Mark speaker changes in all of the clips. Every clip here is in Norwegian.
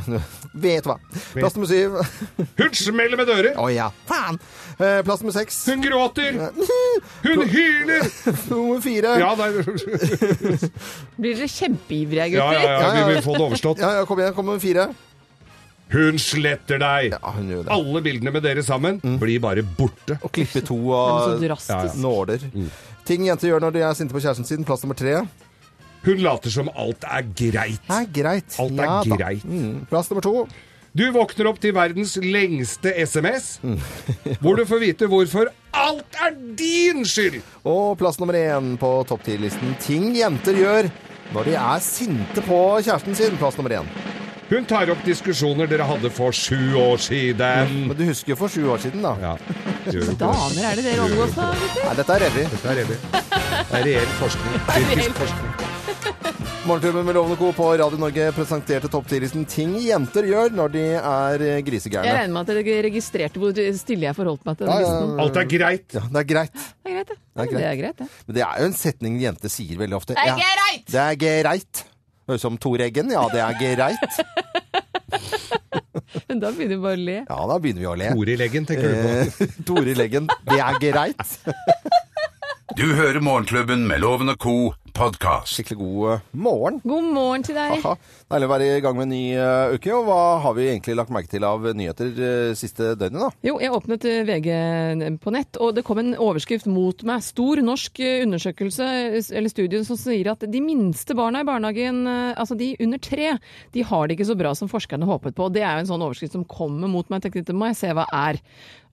Speaker 1: vet hva. Plass nummer syv.
Speaker 2: Hun smeller med dører.
Speaker 1: Å ja, faen! Eh, plass nummer seks.
Speaker 2: Hun gråter. Hun hyler.
Speaker 1: Nummer fire.
Speaker 2: Ja, da,
Speaker 3: Blir dere kjempeivrige,
Speaker 2: ja, ja,
Speaker 3: gutter?
Speaker 2: ja, vi vil få det overstått.
Speaker 1: Ja, ja, kom igjen. Kom med fire.
Speaker 2: Hun sletter deg.
Speaker 1: Ja, hun gjør det. Mm.
Speaker 2: Alle bildene med dere sammen blir bare borte.
Speaker 1: Og klippe to
Speaker 3: Så
Speaker 1: av
Speaker 3: drastisk.
Speaker 1: nåler.
Speaker 2: Mm.
Speaker 1: Ting jenter gjør når de er sinte på kjæresten sin. Plass nummer tre.
Speaker 2: Hun later som alt er greit.
Speaker 1: Er greit.
Speaker 2: Alt er
Speaker 1: da.
Speaker 2: greit.
Speaker 1: Mm. Plass nummer to.
Speaker 2: Du våkner opp til verdens lengste SMS,
Speaker 1: Mm.
Speaker 2: hvor du får vite hvorfor alt er din skyld.
Speaker 1: Og plass nummer én på topp 10-listen ting jenter gjør når de er sinte på kjæresten sin. Plass nummer én.
Speaker 2: Hun tar opp diskusjoner dere hadde for sju år siden.
Speaker 1: Men du husker jo for sju år siden, da.
Speaker 2: Ja, gjør hun ikke det?
Speaker 3: Damer er det dere omgås nå, gutter?
Speaker 1: Nei, dette er revy.
Speaker 2: Jeg er enig. Det er reell forskning. Tyrkisk forskning.
Speaker 1: Morgenklubben med Lovende Co. på Radio Norge presenterte topp 10-listen ting jenter gjør når de er eh,
Speaker 3: Jeg
Speaker 1: grisegærne.
Speaker 3: regner med at dere registrerte hvor stille jeg forholdt meg til
Speaker 1: Ja,
Speaker 3: den
Speaker 1: ja,
Speaker 3: listen.
Speaker 2: Alt er greit.
Speaker 1: ja, det er greit.
Speaker 3: Det er greit, det.
Speaker 1: Det
Speaker 3: Ja, men
Speaker 1: er
Speaker 3: det er greit, det.
Speaker 1: Men det er jo en setning jenter sier veldig ofte.
Speaker 3: er
Speaker 1: Ja,
Speaker 3: greit!
Speaker 1: Det er greit. Høres ut som Tor Eggen. Ja, det er greit.
Speaker 3: Da begynner vi bare å le.
Speaker 1: Ja, da begynner vi å le.
Speaker 2: Ord i leggen, tenker du på.
Speaker 1: Eh, Tore i leggen. Det er greit.
Speaker 4: Du hører Morgenklubben med Loven og Co. podkast.
Speaker 1: Skikkelig god eh, morgen.
Speaker 3: God morgen til deg.
Speaker 1: Aha. Deilig å være i gang med en ny eh, uke. Og hva har vi egentlig lagt merke til av nyheter eh, siste døgnet, da?
Speaker 3: Jo, jeg åpnet eh, VG på nett, og det kom en overskrift mot meg. Stor norsk eh, undersøkelse, eh, eller studie, som sier at de minste barna i barnehagen, eh, altså de under tre, de har det ikke så bra som forskerne håpet på. Og Det er jo en sånn overskrift som kommer mot meg. Jeg tenkte, dette må jeg se hva er.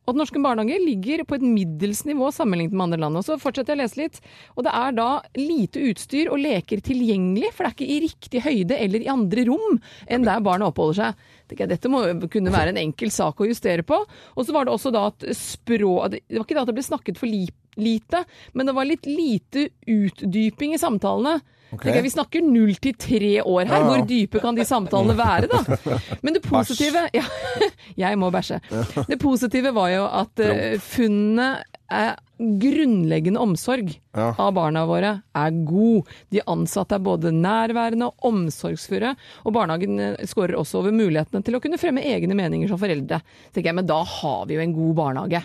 Speaker 3: Og at norske barnehager ligger på et middels nivå sammenlignet med andre land. Og så fortsetter jeg å lese litt. Og det er da lite utstyr og leker tilgjengelig, for det er ikke i riktig høyde eller i andre rom enn der barna oppholder seg. Tenker jeg, Dette må jo kunne være en enkel sak å justere på. Og så var det også da at språk Det var ikke det at det ble snakket for li- lite, men det var litt lite utdyping i samtalene. Tenker jeg, Vi snakker null til tre år her. Hvor dype kan de samtalene være, da? Men det positive ja, Jeg må bæsje. Det positive var jo at eh, funnene er grunnleggende omsorg
Speaker 1: Ja.
Speaker 3: av barna våre er god. De ansatte er både nærværende og omsorgsfulle, og barnehagen eh, skårer også over mulighetene til å kunne fremme egne meninger som foreldre. Så tenker jeg, Men da har vi jo en god barnehage.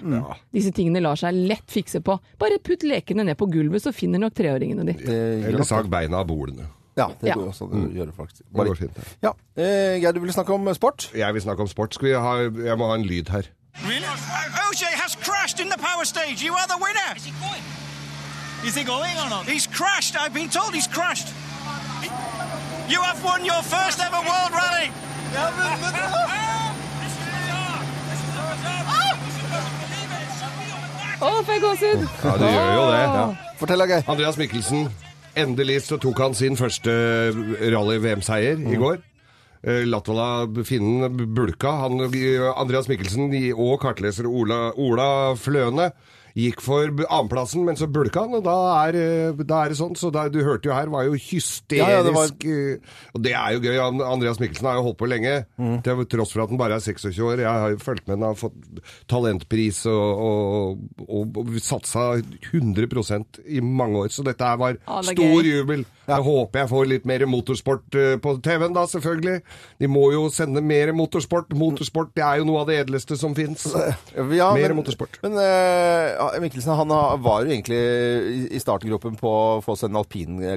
Speaker 3: Disse tingene lar seg lett fikse på. Bare putt lekene ned på gulvet, så finner nok treåringene de.
Speaker 1: Eh,
Speaker 2: Eller sag beina av bolene.
Speaker 1: Ja, det
Speaker 3: Ja.
Speaker 1: går sånn også an å gjøre, faktisk.
Speaker 2: Mm. Det går fint. det.
Speaker 1: Ja. Eh, Geir, du ville snakke om sport?
Speaker 2: Jeg vil snakke om sport. Skal vi ha, jeg må ha en lyd her.
Speaker 5: Really? OJ has crashed in the power stage. You are the winner. Is he going? Is he going or not? He's crashed. I've been told he's crashed. You have won your first ever world rally.
Speaker 3: Å, får jeg gåsehud!
Speaker 2: Ja, du gjør jo
Speaker 1: Ah.
Speaker 2: det.
Speaker 1: Fortell da, Geir.
Speaker 2: Andreas Mikkelsen, endelig så tok han sin første rally-VM-seier
Speaker 1: Mm.
Speaker 2: i går. Eh, Latvala finnen bulka. Han, Andreas Mikkelsen og kartleser Ola, Ola Fløne gikk for annenplassen, men så bulka han, og da er, eh, da er det sånn. Så da, du hørte jo her, var jo hysterisk.
Speaker 1: Ja, ja, det var-
Speaker 2: eh, Og det er jo gøy. Han- Andreas Mikkelsen har jo holdt på lenge, til tross for at han bare er 26 år. Jeg har jo fulgt med, han har fått talentpris og, og, og, og satsa 100 i mange år. Så dette her var
Speaker 3: Ja, Ah, det er
Speaker 2: stor
Speaker 3: gøy.
Speaker 2: jubel. Jeg håper jeg får litt mer motorsport eh, på TV-en da, selvfølgelig. De må jo sende mer motorsport. Motorsport det er jo noe av det edleste som fins.
Speaker 1: Ja,
Speaker 2: Mer
Speaker 1: men-
Speaker 2: motorsport.
Speaker 1: Men eh, Mikkelsen han har- var jo egentlig i- i startgropen på å få seg en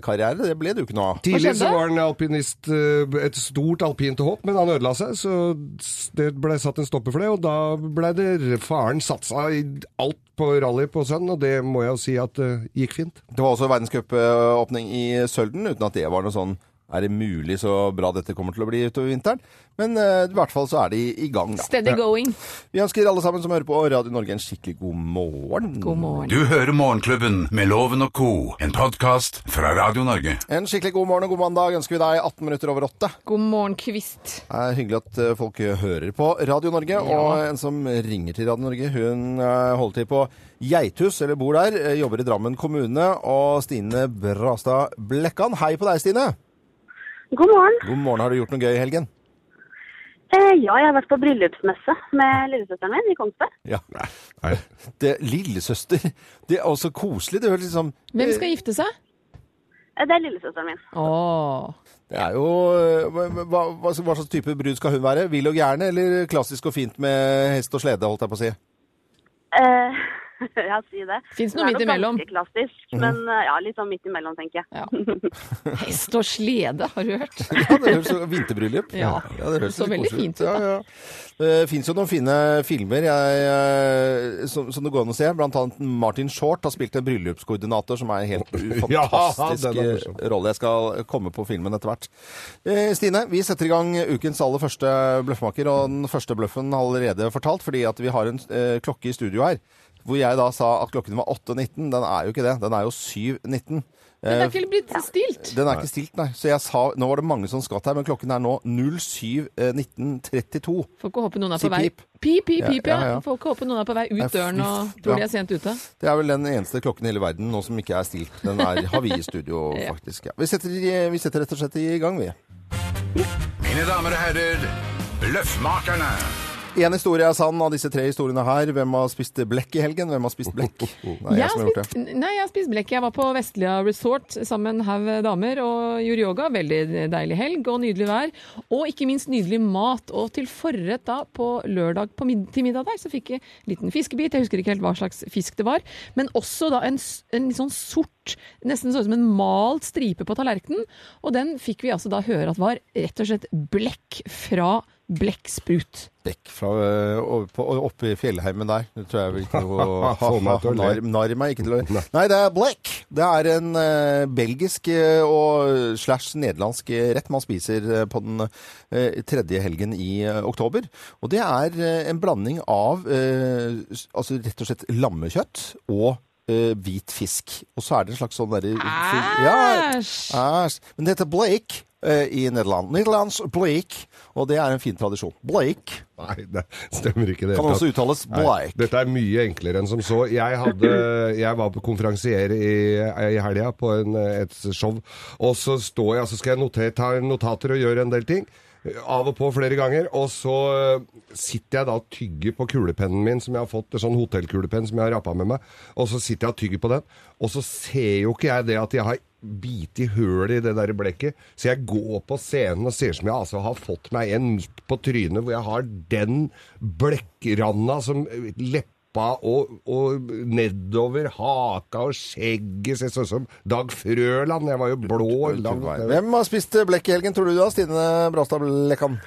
Speaker 1: alpinkarriere. Det ble det jo ikke noe av.
Speaker 2: Tidlig
Speaker 3: skjedde?
Speaker 2: så var han alpinist, eh, et stort alpint hopp, men han ødela seg, så s- det ble satt en stopper for det, og da ble det faren satsa i alt på rally på sønn, og det må jeg jo si at eh, gikk fint.
Speaker 1: Det var også verdenscupåpning i Sølden, uten at det var noe sånn er det mulig så bra dette kommer til å bli utover vinteren? Men eh, i hvert fall så er de i gang, da.
Speaker 3: Steady going.
Speaker 1: Vi ønsker alle sammen som hører på Radio Norge en skikkelig god morgen.
Speaker 3: God morgen.
Speaker 4: Du hører Morgenklubben med Loven og Co. En podkast fra Radio Norge.
Speaker 1: En skikkelig god morgen og god mandag ønsker vi deg 18 minutter over åtte.
Speaker 3: God morgen, Kvist.
Speaker 1: Det er hyggelig at eh, folk hører på Radio Norge. Og en som ringer til Radio Norge, hun eh, holder til på Geithus, eller bor der. eh, Jobber i Drammen kommune. Og Stine Brastad Blekkan. Hei på deg, Stine.
Speaker 6: God morgen.
Speaker 1: God morgen. Har du gjort noe gøy i helgen?
Speaker 6: Eh, ja, jeg har vært på bryllupsmesse med lillesøsteren min i Kongsberg.
Speaker 1: Ja. Det, lillesøster. Det er også koselig. Det høres liksom
Speaker 3: Hvem skal gifte seg?
Speaker 6: Eh, det er lillesøsteren min.
Speaker 3: Å,
Speaker 1: Det er jo eh, hva, hva, hva slags type brud skal hun være? Vill og gærne, eller klassisk og fint med hest og slede, holdt jeg på å si?
Speaker 6: Eh, ja, si det.
Speaker 3: Fins
Speaker 6: Hun er
Speaker 3: noe midt
Speaker 6: nok
Speaker 3: imellom.
Speaker 6: Ganske klassisk,
Speaker 1: Mhm.
Speaker 6: men eh, ja, litt sånn midt imellom, tenker jeg.
Speaker 3: Ja. Hest og slede, har du hørt?
Speaker 1: Ja, det høres jo Vinterbryllup.
Speaker 3: Ja.
Speaker 1: det høres
Speaker 3: Så
Speaker 1: litt
Speaker 3: veldig
Speaker 1: koselig
Speaker 3: fint ut,
Speaker 1: Ja, ja. Det fins jo noen fine filmer jeg, eh, som, som det går an å se. Blant annet Martin Short har spilt en bryllupskoordinator som er en helt
Speaker 2: Ja,
Speaker 1: fantastisk
Speaker 2: den er
Speaker 1: eh,
Speaker 2: morsom.
Speaker 1: rolle. Jeg skal komme på filmen etter hvert. Eh, Stine, vi setter i gang ukens aller første bløffmaker, og den første bløffen har allerede fortalt, fordi at vi har en eh, klokke i studio her. Hvor jeg da sa at klokken var 8.19. Den er jo ikke det. Den er jo 7.19.
Speaker 3: Det
Speaker 1: Eh,
Speaker 3: er ikke blitt stilt.
Speaker 1: den er ikke stilt, nei. Så jeg sa, nå var det mange som skvatt her, men klokken er nå eh, 07.1932.
Speaker 3: Får ikke håpe noen er
Speaker 1: Si
Speaker 3: på vei
Speaker 1: pip.
Speaker 3: Pip, pip,
Speaker 1: Ja,
Speaker 3: pip, ja.
Speaker 1: ja, ja.
Speaker 3: Får ikke håpe noen er på vei
Speaker 1: Nei,
Speaker 3: ut døren og
Speaker 1: fy-
Speaker 3: tror
Speaker 1: ja.
Speaker 3: de er sent ute.
Speaker 1: Det er vel den eneste klokken i hele verden nå som ikke er stilt. Den er, har vi i studio, faktisk. Ja. Vi, setter, i- vi setter rett og slett i gang, vi.
Speaker 4: Mine damer og herrer, Bløffmakerne.
Speaker 1: Én historie er sann av disse tre historiene her. Hvem har spist blekk i helgen? Hvem har spist blekk? Det er jeg som har gjort det.
Speaker 3: spist, nei, jeg har spist blekk. Jeg var på Vestlia Resort sammen med en haug damer og gjorde yoga. Veldig deilig helg og nydelig vær. Og ikke minst nydelig mat. Og til forrett da, på lørdag på mid til middag der, så fikk jeg en liten fiskebit. Jeg husker ikke helt hva slags fisk det var. Men også da en, s- en litt sånn sort, nesten sånn som en malt stripe på tallerkenen. Og den fikk vi altså da høre at var rett og slett blekk fra blekksprut.
Speaker 1: Bekk fra, ø, over på, oppe i fjellheimen der. Det tror jeg vel ikke noe
Speaker 2: Få meg til å le.
Speaker 1: Narr- Narr meg ikke til å Nei, det er black. Det er en ø, belgisk ø, og slash nederlandsk ø, rett man spiser ø, på den ø, tredje helgen i ø, oktober. Og det er ø, en blanding av ø, s- altså rett og slett lammekjøtt og ø, hvit fisk. Og så er det en slags sånn derre Ja,
Speaker 3: Æsj!
Speaker 1: Æsj. Ah, Men det heter Blake eh, i Nederland. Nederlands Blake, og det er en fin tradisjon. Blake
Speaker 2: Nei, det stemmer ikke. det
Speaker 1: kan
Speaker 2: hele
Speaker 1: også
Speaker 2: tatt.
Speaker 1: uttales
Speaker 2: Nei,
Speaker 1: Blake.
Speaker 2: Dette er mye enklere enn som så. Jeg, hadde, jeg var på konferansier i, i helga på en, et show, og så står jeg, så skal jeg notere, ta notater og gjøre en del ting. Av og på flere ganger. Og så sitter jeg da og tygger på kulepennen min, som jeg har fått, en sånn hotellkulepenn som jeg har rappa med meg. Og så sitter jeg og tygger på den, og så ser jo ikke jeg det at jeg har bit i høl i det der blekket. Så jeg går på scenen og ser som jeg altså har fått meg en midt på trynet, hvor jeg har den blekkranda som eh, leppa og, og nedover haka og skjegget ser sånn som Dag Frøland. Jeg var jo blå. lang-
Speaker 1: Hvem har spist eh, blekk i helgen, tror du da, Stine Brastad Blekkan?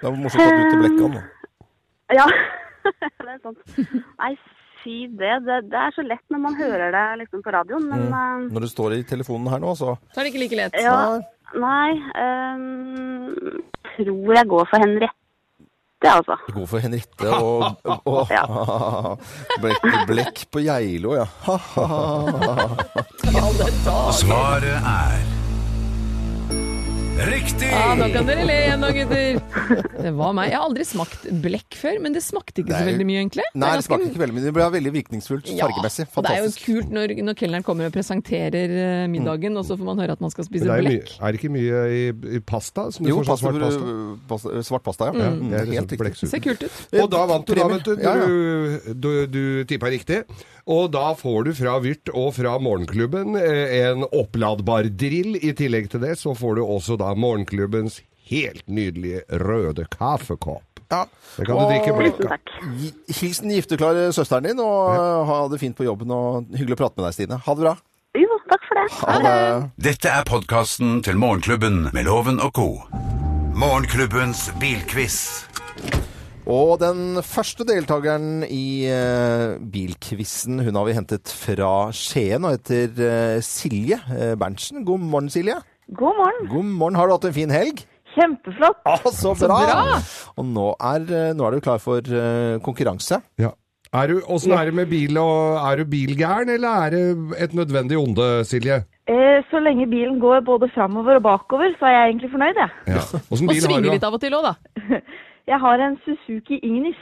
Speaker 1: Det var morsomt at du heter Blekkan. da.
Speaker 6: Ja, det er sant. Nei, si det. det. Det er så lett når man hører det liksom på radioen, men eh,
Speaker 1: Når du står i telefonen her nå, så
Speaker 3: Så er det ikke like lett.
Speaker 6: ja, eh, Nei, ehm, tror jeg går for Henriette, altså.
Speaker 1: god for Henriette og, og, blekk, blekk på Geilo, ja.
Speaker 4: Svaret er Riktig!
Speaker 3: Ja, nå kan dere le igjen da, gutter. Det var meg. Jeg har aldri smakt blekk før, men det smakte ikke så
Speaker 1: Nei.
Speaker 3: veldig mye, egentlig. Det er
Speaker 1: Nei, det
Speaker 3: ganske-
Speaker 1: smaker ikke veldig mye. Det ble veldig virkningsfullt
Speaker 3: Ja,
Speaker 1: fargemessig.
Speaker 3: og det er jo
Speaker 1: Fantastisk.
Speaker 3: kult når, når kelneren kommer og presenterer eh, middagen, og så får man høre at man skal spise
Speaker 2: Men det er, jo
Speaker 3: blekk.
Speaker 2: mye, er det ikke mye i, i pasta? Som du
Speaker 1: Jo,
Speaker 2: får sånn
Speaker 1: pasta,
Speaker 2: svart pasta?
Speaker 1: pasta. svart pasta, ja.
Speaker 2: Ja,
Speaker 1: Mm,
Speaker 2: det er
Speaker 1: helt
Speaker 2: liksom
Speaker 1: riktig.
Speaker 3: Det ser
Speaker 2: blekksuppe.
Speaker 3: kult ut.
Speaker 2: Og da vant du, da, vet du.
Speaker 1: Ja, ja.
Speaker 2: Du, du, du tippa riktig. Og da får du fra Vyrt og fra Morgenklubben eh, en oppladbar drill. I tillegg til det så får du også da Morgenklubbens helt nydelige røde kaffekopp.
Speaker 1: Ja.
Speaker 2: Det kan du drikke blekk
Speaker 6: Tusen
Speaker 2: av.
Speaker 6: takk.
Speaker 1: Gi- Hilsen gifteklare søsteren din, og uh, ha det fint på jobben. og Hyggelig å prate med deg, Stine. Ha det bra.
Speaker 6: Jo, takk for det.
Speaker 1: Ha det.
Speaker 4: Dette er podkasten til Morgenklubben med Loven og co. Morgenklubbens bilquiz.
Speaker 1: Og den første deltakeren i uh, bilquizen, hun har vi hentet fra Skien og heter eh, Silje eh, Berntsen. God morgen, Silje.
Speaker 7: God morgen.
Speaker 1: God morgen. Har du hatt en fin helg?
Speaker 7: Kjempeflott.
Speaker 1: Ja, så bra! Og nå er, eh, nå er du klar for eh, konkurranse.
Speaker 2: Ja. Er du, hvordan er det med bil? Og, er du bilgæren, eller er det et nødvendig onde, Silje?
Speaker 7: Eh, så lenge bilen går både framover og bakover, så er jeg egentlig fornøyd, jeg.
Speaker 2: Ja. Åssen
Speaker 3: Og
Speaker 2: bil har
Speaker 3: svinge
Speaker 2: du?
Speaker 3: litt av og til òg, da.
Speaker 7: Jeg har en Suzuki Ignis.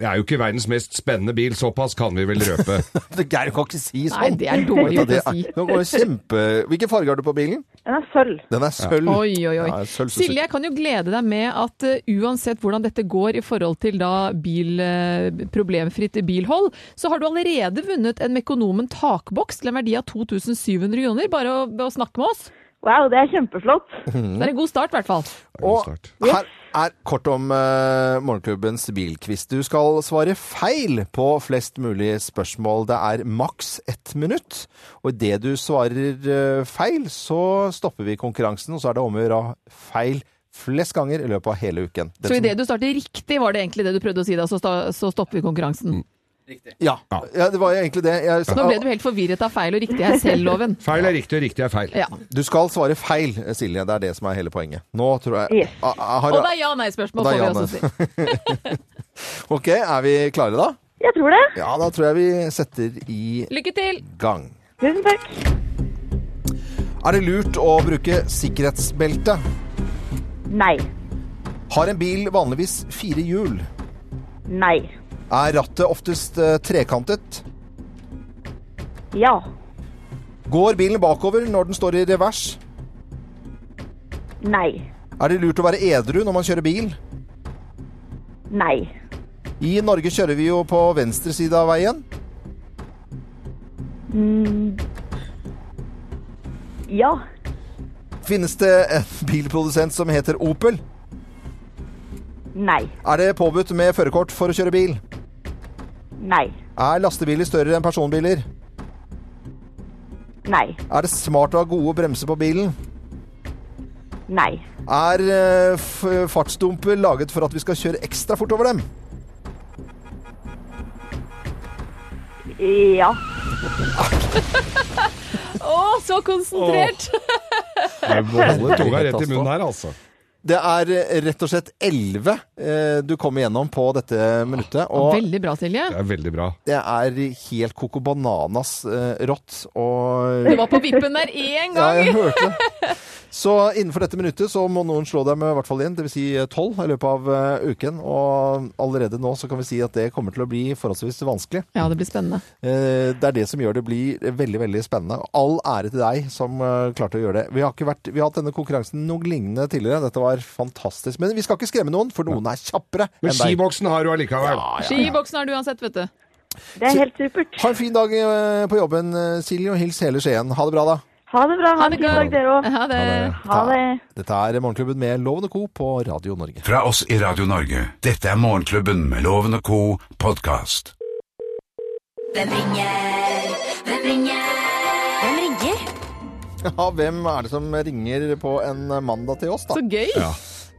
Speaker 2: Det er jo ikke verdens mest spennende bil, såpass kan vi vel røpe.
Speaker 1: Geir kan ikke si
Speaker 3: Nei,
Speaker 1: sånn!
Speaker 3: det er dårlig gjort
Speaker 1: det
Speaker 3: å si.
Speaker 1: er- nå går det kjempe... Hvilken farge har du på bilen?
Speaker 7: Den er sølv.
Speaker 1: Den er sølv.
Speaker 3: Oi, oi, oi.
Speaker 1: Ja, sølv, så
Speaker 3: Silje, jeg kan jo glede deg med at eh, uansett hvordan dette går i forhold til da bil, eh, problemfritt bilhold, så har du allerede vunnet en Mekonomen takboks til en verdi av 2700 kroner, bare å, å snakke med oss.
Speaker 7: Wow, det er kjempeflott.
Speaker 3: Det er en god start, i hvert fall.
Speaker 1: Og
Speaker 2: start.
Speaker 1: her er kort om eh, Morgenklubbens bilquiz. Du skal svare feil på flest mulig spørsmål. Det er maks ett minutt. Og idet du svarer eh, feil, så stopper vi konkurransen. Og så er det om å gjøre å ha feil flest ganger i løpet av hele uken. Den
Speaker 3: Så
Speaker 1: som-
Speaker 3: idet du starter riktig, var det egentlig det du prøvde å si da, så, sta, så stopper vi konkurransen.
Speaker 1: Mm. ja. ja, det var jo egentlig det. Jeg,
Speaker 3: Nå ble du helt forvirret av feil og riktig her selv, Loven.
Speaker 2: Feil er riktig, og riktig er feil.
Speaker 3: Ja.
Speaker 1: Du skal svare feil, Silje. Det er det som er hele poenget. Nå tror jeg
Speaker 7: Yes.
Speaker 1: Ah, ah, har-
Speaker 3: Og det er ja-nei-spørsmål,
Speaker 1: Og det
Speaker 3: får
Speaker 1: er
Speaker 3: vi også si.
Speaker 1: Ok, er vi klare da?
Speaker 7: Jeg tror det.
Speaker 1: Ja, da tror jeg vi setter i
Speaker 3: Lykke til!
Speaker 1: gang.
Speaker 7: Tusen takk.
Speaker 1: Er det lurt å bruke sikkerhetsbelte?
Speaker 7: Nei.
Speaker 1: Har en bil vanligvis fire hjul?
Speaker 7: Nei.
Speaker 1: Er rattet oftest eh, trekantet?
Speaker 7: Ja.
Speaker 1: Går bilen bakover når den står i revers?
Speaker 7: Nei.
Speaker 1: Er det lurt å være edru når man kjører bil?
Speaker 7: Nei.
Speaker 1: I Norge kjører vi jo på venstre side av veien.
Speaker 7: Mm. Ja.
Speaker 1: Finnes det en bilprodusent som heter Opel?
Speaker 7: Nei.
Speaker 1: Er det påbudt med førerkort for å kjøre bil?
Speaker 7: Nei.
Speaker 1: Er lastebiler større enn personbiler?
Speaker 7: Nei.
Speaker 1: Er det smart å ha gode bremser på bilen?
Speaker 7: Nei.
Speaker 1: Er eh, f- fartsdumper laget for at vi skal kjøre ekstra fort over dem?
Speaker 7: Ja.
Speaker 3: Å, så konsentrert!
Speaker 2: Jeg må holde tunga rett i munnen her, altså.
Speaker 1: Det er eh, rett og slett 11 eh, du kommer gjennom på dette minuttet. Og
Speaker 3: Veldig bra, Silje.
Speaker 2: Det er veldig bra.
Speaker 1: det er helt coco bananas eh, rått.
Speaker 3: Du
Speaker 1: Og
Speaker 3: var på vippen der
Speaker 1: ja,
Speaker 3: én gang!
Speaker 1: jeg hørte det. Så innenfor dette minuttet så må noen slå deg med i hvert fall én, dvs. Si eh, tolv i løpet av eh, uken. Og allerede nå så kan vi si at det kommer til å bli forholdsvis vanskelig.
Speaker 3: Ja, det blir spennende.
Speaker 1: Eh, Det er det som gjør det blir veldig veldig spennende. All ære til deg som eh, klarte å gjøre det. Vi har, ikke vært, vi har hatt denne konkurransen noe lignende tidligere. Dette var fantastisk. Men vi skal ikke skremme noen, for noen er kjappere
Speaker 2: Men
Speaker 1: enn deg.
Speaker 2: skiboksen har du allikevel.
Speaker 3: Skiboksen har du uansett, vet du.
Speaker 7: Det er helt supert.
Speaker 1: Ha en fin dag eh, på jobben, eh, Silje, og hils hele Skien. Ha det bra, da.
Speaker 7: Ha det bra.
Speaker 3: Ha
Speaker 7: Ha
Speaker 3: det
Speaker 7: en fin dag,
Speaker 3: godt.
Speaker 7: dere òg.
Speaker 3: Ha det.
Speaker 7: Ha det.
Speaker 1: Dette er Morgenklubben med Loven og Co. på Radio Norge.
Speaker 4: Fra oss i Radio Norge. Dette er Morgenklubben med Loven og co. podkast.
Speaker 8: Hvem ringer? Hvem ringer? Hvem ringer?
Speaker 1: Ja, hvem er det som ringer på en eh, mandag til oss, da?
Speaker 3: Så gøy!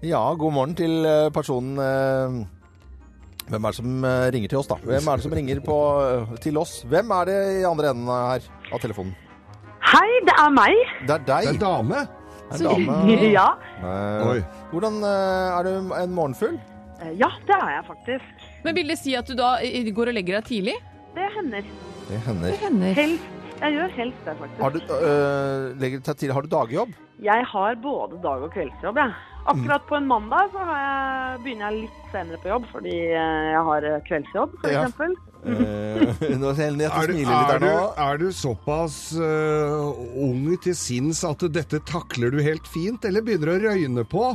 Speaker 1: Ja, god morgen til eh, personen eh, Hvem er det som eh, ringer til oss, da? Hvem er det som ringer på, eh, til oss? Hvem er det i andre enden her av telefonen?
Speaker 7: Hei, det er meg.
Speaker 1: Det er
Speaker 2: Det er
Speaker 1: deg.
Speaker 2: en
Speaker 1: Det er
Speaker 2: dame.
Speaker 1: en dame.
Speaker 7: Ja.
Speaker 1: Eh,
Speaker 2: Oi.
Speaker 1: Hvordan eh, er du en morgenfugl?
Speaker 7: Eh, Ja, det er jeg faktisk.
Speaker 3: Men vil det si at du da i- i- går og legger deg tidlig?
Speaker 7: Det hender.
Speaker 1: Det hender.
Speaker 3: Hender.
Speaker 7: Helst. Jeg gjør helst det, faktisk.
Speaker 1: Har du, eh, legger deg til, har du Mm. dagjobb?
Speaker 7: Jeg har både dag- og kveldsjobb, jeg. Akkurat på en mandag så har jeg, begynner jeg litt senere på jobb, fordi eh, jeg har eh, kveldsjobb,
Speaker 1: Ja.
Speaker 7: f.eks. eksempel.
Speaker 1: Eh, Nå ser jeg at
Speaker 2: Er
Speaker 1: du
Speaker 2: du,
Speaker 1: smiler litt
Speaker 2: er,
Speaker 1: der
Speaker 2: du,
Speaker 1: nå.
Speaker 2: er du såpass øh, ung til sinns at dette takler du helt fint, eller begynner det å røyne på?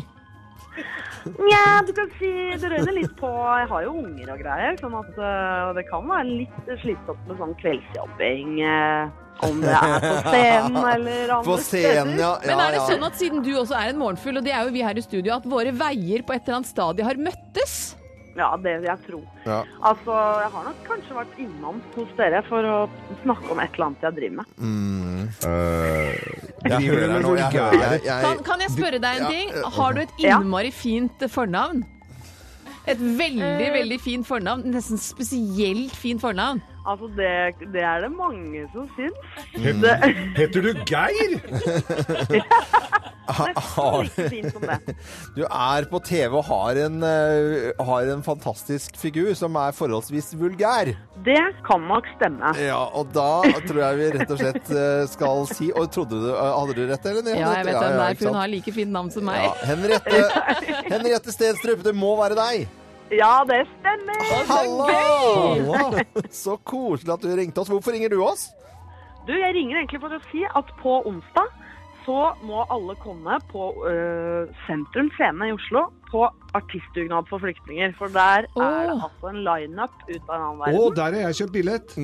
Speaker 7: Nja, du kan si det røyner litt på Jeg har jo unger og greier, sånn at eh, det kan være litt slitsomt med sånn kveldsjobbing. eh, Om det er på scenen eller andre
Speaker 1: På scenen, ja.
Speaker 3: Men
Speaker 1: ja,
Speaker 3: er det
Speaker 1: ja.
Speaker 3: sånn at siden du også er en morgenfugl, og det er jo vi her i studio, at våre veier på et eller annet stadie har møttes?
Speaker 7: steder. Ja, det vil jeg tro.
Speaker 1: Ja.
Speaker 7: Altså, jeg har nok kanskje vært innom hos dere for å snakke om et eller annet jeg driver med.
Speaker 1: Eh, Jeg
Speaker 2: Driver du
Speaker 1: hører
Speaker 2: med
Speaker 1: noe. Jeg,
Speaker 2: vulgære-
Speaker 1: Mm. jeg, jeg,
Speaker 3: Kan, kan jeg spørre deg en ting? Har du et
Speaker 7: Ja.
Speaker 3: innmari fint fornavn? Et veldig, veldig fint fornavn. Nesten spesielt fint fornavn.
Speaker 7: Altså, det, det er det mange som syns.
Speaker 1: Mm.
Speaker 2: Heter du Geir?
Speaker 7: Nesten like fint som det.
Speaker 1: du er på TV og har en, eh, har en fantastisk figur som er forholdsvis vulgær.
Speaker 7: Det kan nok stemme.
Speaker 1: Ja, og da tror jeg vi rett og slett eh, skal si Og trodde du eh, Hadde du rett, eller?
Speaker 3: Ja, jeg vet hvem det
Speaker 1: ikke
Speaker 3: er, for hun
Speaker 1: sant?
Speaker 3: har like fint navn som
Speaker 1: ja,
Speaker 3: meg.
Speaker 1: Henriette, Henriette Stenstrup, det må være deg!
Speaker 7: Ja, det stemmer.
Speaker 1: Hallo! Så koselig at du ringte oss. Hvorfor ringer du oss?
Speaker 7: Du, jeg ringer egentlig for å si at på onsdag så må alle komme på øh, Sentrum Scene i Oslo på artistdugnad for flyktninger. For der er det
Speaker 3: Åh.
Speaker 7: altså en lineup ut av en annen
Speaker 2: Å,
Speaker 7: verden.
Speaker 2: der har jeg kjøpt billett.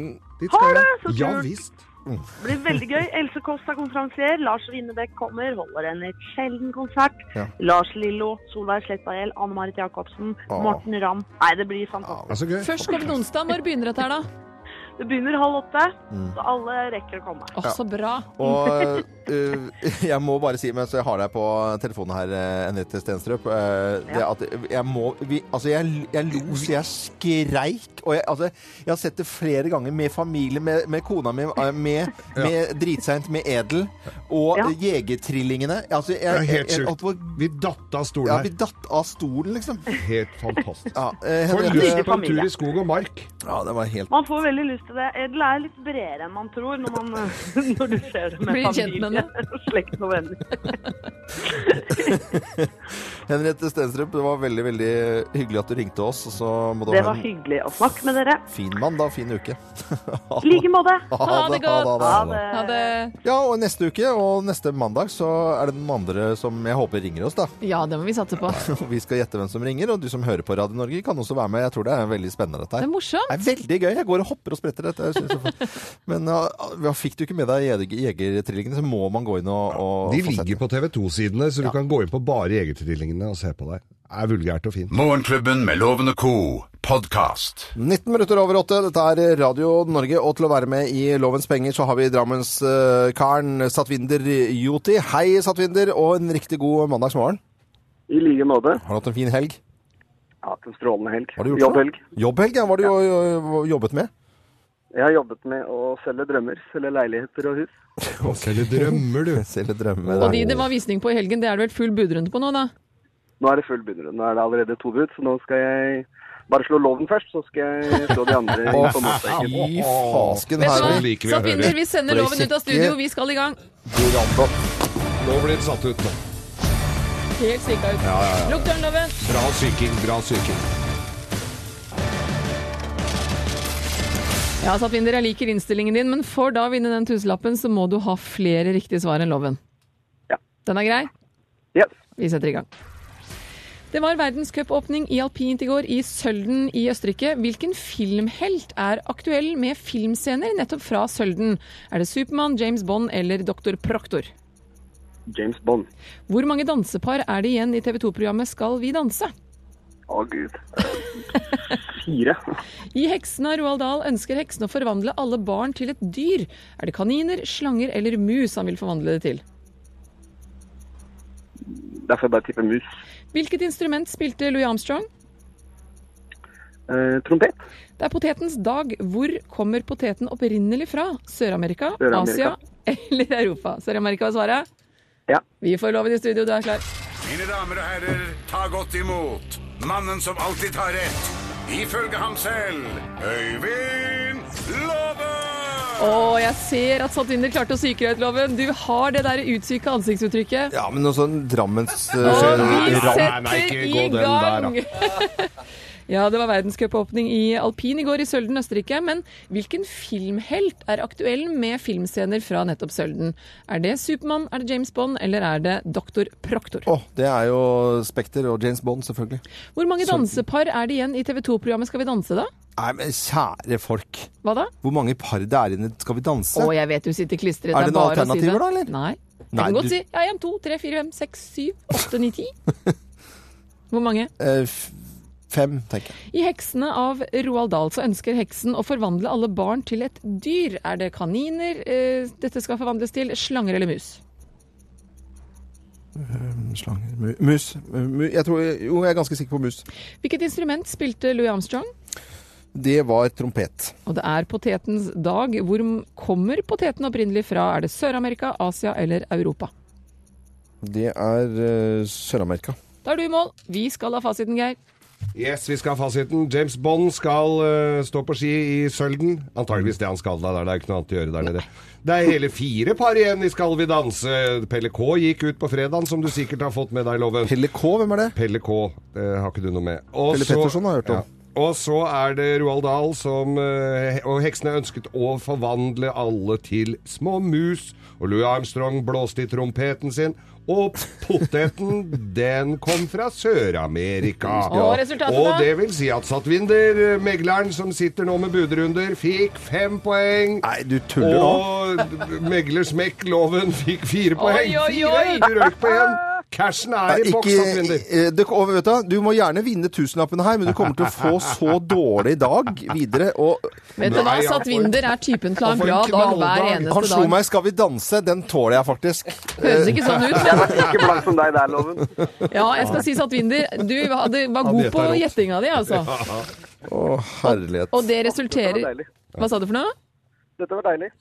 Speaker 2: Dit
Speaker 7: Har
Speaker 2: skal
Speaker 7: du?
Speaker 2: jeg.
Speaker 7: Mm. Så
Speaker 2: Ja
Speaker 7: kult.
Speaker 2: visst.
Speaker 7: Det blir veldig gøy. Else Kåss er konferansier. Lars Winnebekk kommer, holder en litt sjelden konsert.
Speaker 1: Ja.
Speaker 7: Lars Lillo, Solveig Slettahjell, Anne Marit Jacobsen,
Speaker 1: Åh.
Speaker 7: Morten Ramm. Nei, det blir fantastisk.
Speaker 2: Det er så gøy.
Speaker 3: Først kommer det onsdag. Når begynner dette her, da?
Speaker 7: Det begynner halv åtte,
Speaker 1: Mm.
Speaker 7: så alle rekker å komme.
Speaker 3: Å, så bra.
Speaker 1: Og eh, jeg må bare si, mens jeg har deg på telefonen her, eh, Henriette Stenstrup eh, det
Speaker 7: Ja.
Speaker 1: at jeg må vi, Altså, jeg, jeg lo så jeg skreik. Og jeg, altså, jeg har sett det flere ganger med familie, med, med kona mi, eh, med, med Dritseint med Edel og
Speaker 7: Ja.
Speaker 1: Jegertrillingene. Altså, jeg,
Speaker 2: er helt
Speaker 1: jeg- jeg-
Speaker 2: sjukt.
Speaker 1: at hvor-
Speaker 2: Vi datt av stolen
Speaker 1: Ja,
Speaker 2: her.
Speaker 1: vi datt av stolen, liksom.
Speaker 2: Helt fantastisk.
Speaker 1: Ja, eh,
Speaker 2: Få
Speaker 1: Henriette-
Speaker 2: lyst på en tur
Speaker 7: familie.
Speaker 2: i skog og mark.
Speaker 1: ja, det var helt
Speaker 7: Man får veldig lyst til det. Edel er litt bredere enn man tror når, man, når du ser det med
Speaker 3: Blir kjent med
Speaker 7: familie og slekt og venner.
Speaker 1: Henriette Stenstrup, det var veldig veldig hyggelig at du ringte oss. Og så må du
Speaker 7: Det
Speaker 1: ha
Speaker 7: var
Speaker 1: en
Speaker 7: hyggelig å snakke med dere.
Speaker 1: fin mandag, fin uke.
Speaker 7: I like måte.
Speaker 3: Ha det godt.
Speaker 7: Ha
Speaker 3: Ha
Speaker 7: det.
Speaker 3: det.
Speaker 1: Ja, og neste uke og neste mandag så er det noen andre som jeg håper ringer oss, da.
Speaker 3: Ja, det må vi satse på. Det
Speaker 1: Vi skal gjette hvem som ringer, og du som hører på Radio Norge kan også være med. Jeg tror det er veldig spennende dette
Speaker 3: er
Speaker 1: her.
Speaker 3: morsomt.
Speaker 1: Det er veldig gøy. Jeg går og hopper og spretter dette. Jeg synes det er- Men ja, ja, fikk du ikke med deg jeg- jegertrillingene, så må man gå inn og, og
Speaker 2: De
Speaker 1: få sett
Speaker 2: ligger på TV 2-sidene, så du kan gå inn på bare Jegertvillingene og se på det. Det er vulgært og fint.
Speaker 4: Morgenklubben med Loven og Co. podkast.
Speaker 1: 19 minutter over åtte. Dette er Radio Norge, og til å være med i Lovens penger så har vi Drammenskaren Satvinder Joti. Hei, Satvinder, og en riktig god mandagsmorgen.
Speaker 9: I like måte.
Speaker 1: Har du hatt en fin helg?
Speaker 9: Hatt en strålende helg.
Speaker 1: Har du gjort
Speaker 9: Jobbhelg.
Speaker 1: det? Jobbhelg, ja. Hva har du jo- jo- jobbet med?
Speaker 9: Jeg har jobbet med å selge drømmer. Selge leiligheter og hus.
Speaker 2: Eller drømmer, du.
Speaker 1: Selv drømmer.
Speaker 3: Og de det var visning på i helgen, det er det vel full budrunde på nå, da?
Speaker 9: Nå er det full begynner. Nå er det allerede to bud, så nå skal jeg bare slå loven først, så skal jeg slå de andre i sommersteken.
Speaker 1: Fy fasken
Speaker 3: Vet
Speaker 1: her.
Speaker 2: Sånn
Speaker 3: du
Speaker 2: liker vi
Speaker 3: hva,
Speaker 2: å høre.
Speaker 3: Satvinder, vi sender
Speaker 1: Ble
Speaker 3: loven ut
Speaker 1: kikke.
Speaker 3: av studio, vi skal i gang.
Speaker 2: Nå blir det satt ut. nå.
Speaker 3: Helt strikka ut. Lukk døren, loven.
Speaker 2: Bra psyking, bra psyking.
Speaker 3: Ja, Satvinder, jeg liker innstillingen din, men for da å vinne den tusenlappen, så må du ha flere riktige svar enn loven.
Speaker 9: Ja.
Speaker 3: Den er grei?
Speaker 9: Yes.
Speaker 3: Vi setter i gang. Det var verdenscupåpning i alpint i går i Sølden i Østerrike. Hvilken filmhelt er aktuell med filmscener nettopp fra Sølden? Er det Supermann, James Bond eller Dr. Proktor?
Speaker 9: James Bond.
Speaker 3: Hvor mange dansepar er det igjen i TV 2-programmet Skal vi danse?
Speaker 9: Å, gud. Eh, Fire.
Speaker 3: I Heksen av Roald Dahl ønsker heksen å forvandle alle barn til et dyr. Er det kaniner, slanger eller mus han vil forvandle det til?
Speaker 9: Derfor jeg bare tipper mus.
Speaker 3: Hvilket instrument spilte Louis Armstrong?
Speaker 9: Eh, trompet.
Speaker 3: Det er potetens dag. Hvor kommer poteten opprinnelig fra? Sør-Amerika, Asia
Speaker 9: Sør-Amerika.
Speaker 3: eller Europa? Sør-Amerika var svaret.
Speaker 9: Ja.
Speaker 3: Vi får loven i studio, du er klar.
Speaker 4: Mine damer og herrer, ta godt imot mannen som alltid tar rett. Ifølge ham selv Øyvind Låve!
Speaker 3: Å, jeg ser at Satvinder klarte å psyke deg ut, Loven. Du har det der utsyka ansiktsuttrykket.
Speaker 1: Ja, men noe sånn Drammens... eh,
Speaker 3: Og vi
Speaker 2: nei,
Speaker 3: setter
Speaker 2: nei, ikke gå
Speaker 3: i
Speaker 2: den der,
Speaker 3: gang! ja, det var verdenscupåpning i alpin i går i Sølden, Østerrike. Men hvilken filmhelt er aktuell med filmscener fra nettopp Sølden? Er det Supermann, er det James Bond, eller er det Doktor Proktor?
Speaker 1: Å, det er jo Spekter og James Bond, selvfølgelig.
Speaker 3: Hvor mange dansepar er det igjen i TV 2-programmet Skal vi danse, da?
Speaker 1: Nei, men kjære folk.
Speaker 3: Hva da?
Speaker 1: Hvor mange par det er inne? Skal vi danse?
Speaker 3: Å, jeg vet du sitter klistret.
Speaker 1: Er det
Speaker 3: bare
Speaker 1: noen
Speaker 3: å si
Speaker 1: alternativer
Speaker 3: det.
Speaker 1: da, eller?
Speaker 3: Nei. Jeg
Speaker 1: Nei,
Speaker 3: kan godt
Speaker 1: du-
Speaker 3: si ja, 1, 2, 3, 4, 5, 6, 7, 8, 9, 10. Hvor mange?
Speaker 1: Eh, f- fem, tenker jeg.
Speaker 3: I 'Heksene' av Roald Dahl så ønsker heksen å forvandle alle barn til et dyr. Er det kaniner eh, dette skal forvandles til? Slanger eller mus?
Speaker 1: Slanger, mu- mus. mu- Jeg tror, eh, jo, jeg er ganske sikker på mus.
Speaker 3: Hvilket instrument spilte Louis Armstrong?
Speaker 1: Det var trompet.
Speaker 3: Og det er potetens dag. Hvor kommer poteten opprinnelig fra? Er det Sør-Amerika, Asia eller Europa?
Speaker 1: Det er eh, Sør-Amerika.
Speaker 3: Da er du i mål. Vi skal ha fasiten, Geir.
Speaker 2: Yes, vi skal ha fasiten. James Bond skal eh, stå på ski i Sølden. Antageligvis det han skal da, der. det er ikke noe annet å gjøre der nede. Det er hele fire par igjen i Skal vi danse. Pelle K gikk ut på fredagen, som du sikkert har fått med deg, Loven.
Speaker 1: Pelle K, hvem er det?
Speaker 2: Pelle K eh, har ikke du noe med. Og
Speaker 1: Pelle
Speaker 2: så-
Speaker 1: Petterson har jeg hørt om.
Speaker 2: Og så er det Roald Dahl som eh, he- Og heksene ønsket å forvandle alle til små mus. Og Louis Armstrong blåste i trompeten sin. Og poteten, den kom fra Sør-Amerika.
Speaker 3: Og resultatet, da?
Speaker 2: Og det vil si at Satvinder, eh, megleren som sitter nå med budrunder, fikk fem poeng.
Speaker 1: Nei, du tuller nå.
Speaker 2: Og meglersmekkloven fikk fire poeng.
Speaker 3: oi, oi.
Speaker 2: Fire! Du røk på én. Cashen er i boks, Satvinder.
Speaker 1: eh, du, og vet du, du må gjerne vinne tusenlappene her, men du kommer til å få så dårlig dag videre. Og
Speaker 3: Vet du hva,
Speaker 2: Nei, ja,
Speaker 3: Satvinder er typen til å ha en
Speaker 2: Og for
Speaker 3: bra dag hver
Speaker 2: en knalldag.
Speaker 1: han
Speaker 3: eneste
Speaker 1: slo
Speaker 3: dag.
Speaker 1: meg 'Skal vi danse', den tåler jeg faktisk.
Speaker 3: Høres ikke sånn ut.
Speaker 9: Jeg var like blank som deg der, Loven.
Speaker 3: Ja, jeg skal si Satvinder, du hadde, var god
Speaker 2: gjetta
Speaker 3: på
Speaker 2: rått.
Speaker 3: gjettinga di, altså.
Speaker 1: Å, herlighet.
Speaker 3: Og det
Speaker 9: Dette var
Speaker 3: resulterer
Speaker 9: deilig.
Speaker 3: Hva sa du for noe?
Speaker 9: Dette var deilig.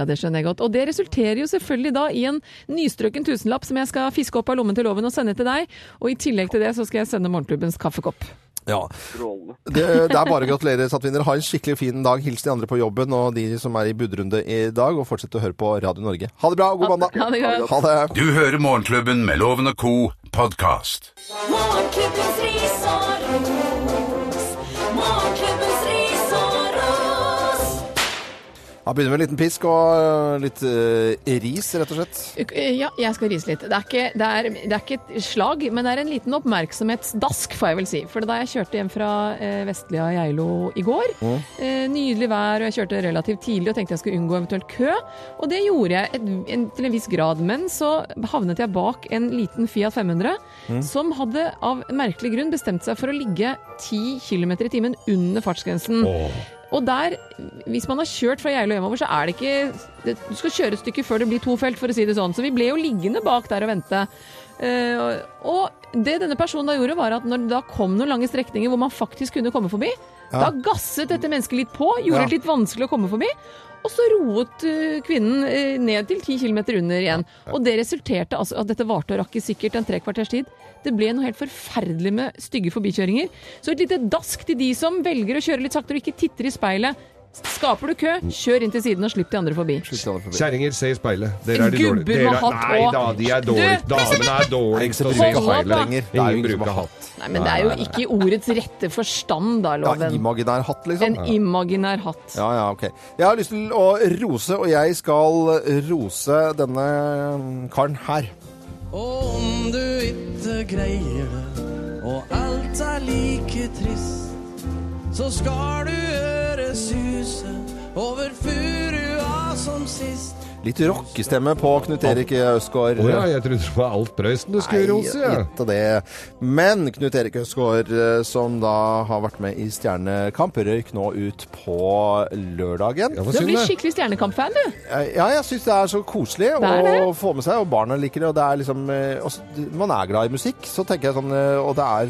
Speaker 3: Ja, det skjønner jeg godt. Og det resulterer jo selvfølgelig da i en nystrøken tusenlapp som jeg skal fiske opp av lommen til loven og sende til deg. Og i tillegg til det så skal jeg sende morgenklubbens kaffekopp.
Speaker 1: Ja.
Speaker 9: Strålende.
Speaker 1: Det, det er bare å gratulere, Sattvinner. Ha en skikkelig fin dag. Hils de andre på jobben og de som er i budrunde i dag, og fortsett å høre på Radio Norge. Ha det bra, og god mandag!
Speaker 3: Ha det godt.
Speaker 1: Ha det.
Speaker 4: Du hører Morgenklubben med Loven og Co. podkast.
Speaker 8: Morgenklubbens ris og ros. Morgenklubbens ris og ros.
Speaker 1: Da begynner vi med en liten pisk og øh, litt øh, ris, rett og slett.
Speaker 3: Uk- eh, Ja, jeg skal rise litt. Det er, ikke, det, er, det er ikke et slag, men det er en liten oppmerksomhetsdask, får jeg vel si. For da jeg kjørte hjem fra eh, Vestlia Geilo i går, eh, nydelig vær, og jeg kjørte relativt tidlig og tenkte jeg skulle unngå eventuelt kø. Og det gjorde jeg et, en, til en viss grad, men så havnet jeg bak en liten Fiat 500 som hadde av merkelig grunn bestemt seg for å ligge 10 km i timen under fartsgrensen. Og der, hvis man har kjørt fra Geilo hjemover, så er det ikke det, Du skal kjøre et stykke før det blir to felt, for å si det sånn. Så vi ble jo liggende bak der og vente. Eh, og det denne personen da gjorde, var at når det da kom noen lange strekninger hvor man faktisk kunne komme forbi, da gasset dette mennesket litt på, gjorde
Speaker 1: Ja.
Speaker 3: det litt vanskelig å komme forbi. Og så roet eh, kvinnen eh, ned til 10 km under igjen. Og det resulterte altså at dette varte og rakk i sikkert en tre kvarters tid. Det ble noe helt forferdelig med stygge forbikjøringer. Så et lite dask til de som velger å kjøre litt saktere og ikke titter i speilet. Skaper du kø, kjør inn til siden og Mm. slipp de andre forbi.
Speaker 1: Slutt å ha det forbi.
Speaker 2: Kjerringer, se i speilet. Dere er de
Speaker 3: Gubber
Speaker 2: dårlige. Dere
Speaker 3: med
Speaker 2: er,
Speaker 3: hatt
Speaker 2: nei
Speaker 3: og-
Speaker 2: da, de er dårlige.
Speaker 3: Du!
Speaker 2: Damene er dårligst til å se i
Speaker 3: Hold opp, da.
Speaker 2: speilet.
Speaker 1: Det er jo
Speaker 2: Ingen
Speaker 1: ingen som
Speaker 2: bruker
Speaker 1: har
Speaker 2: hatt.
Speaker 1: hatt.
Speaker 3: Nei, men det er jo ikke i ordets rette forstand, da,
Speaker 1: Ja,
Speaker 3: loven.
Speaker 1: imaginær hatt, liksom.
Speaker 3: En imaginær hatt.
Speaker 1: Ja, ja, ok. Jeg har lyst til å rose, og jeg skal rose denne mm, karen her.
Speaker 5: Om du ikke greier det, og alt er like trist, så skal du høre suset over furua som sist.
Speaker 1: Litt rockestemme på Knut Erik Øsgaard.
Speaker 2: Å ja, jeg trodde det var Alf Prøysen du skulle rose. ja.
Speaker 1: litt av det. Men Knut Erik Øsgaard, eh, som da har vært med i Stjernekamp, røyk nå ut på lørdagen.
Speaker 2: Ja, hva
Speaker 3: Du
Speaker 2: synd
Speaker 3: blir
Speaker 2: det.
Speaker 3: skikkelig Stjernekamp-fan, du.
Speaker 1: Eh, Ja, jeg syns det er så koselig
Speaker 3: Det er det.
Speaker 1: å få med seg, og barna liker det. Og det er liksom eh, også, Man er glad i musikk, så tenker jeg sånn eh, Og det er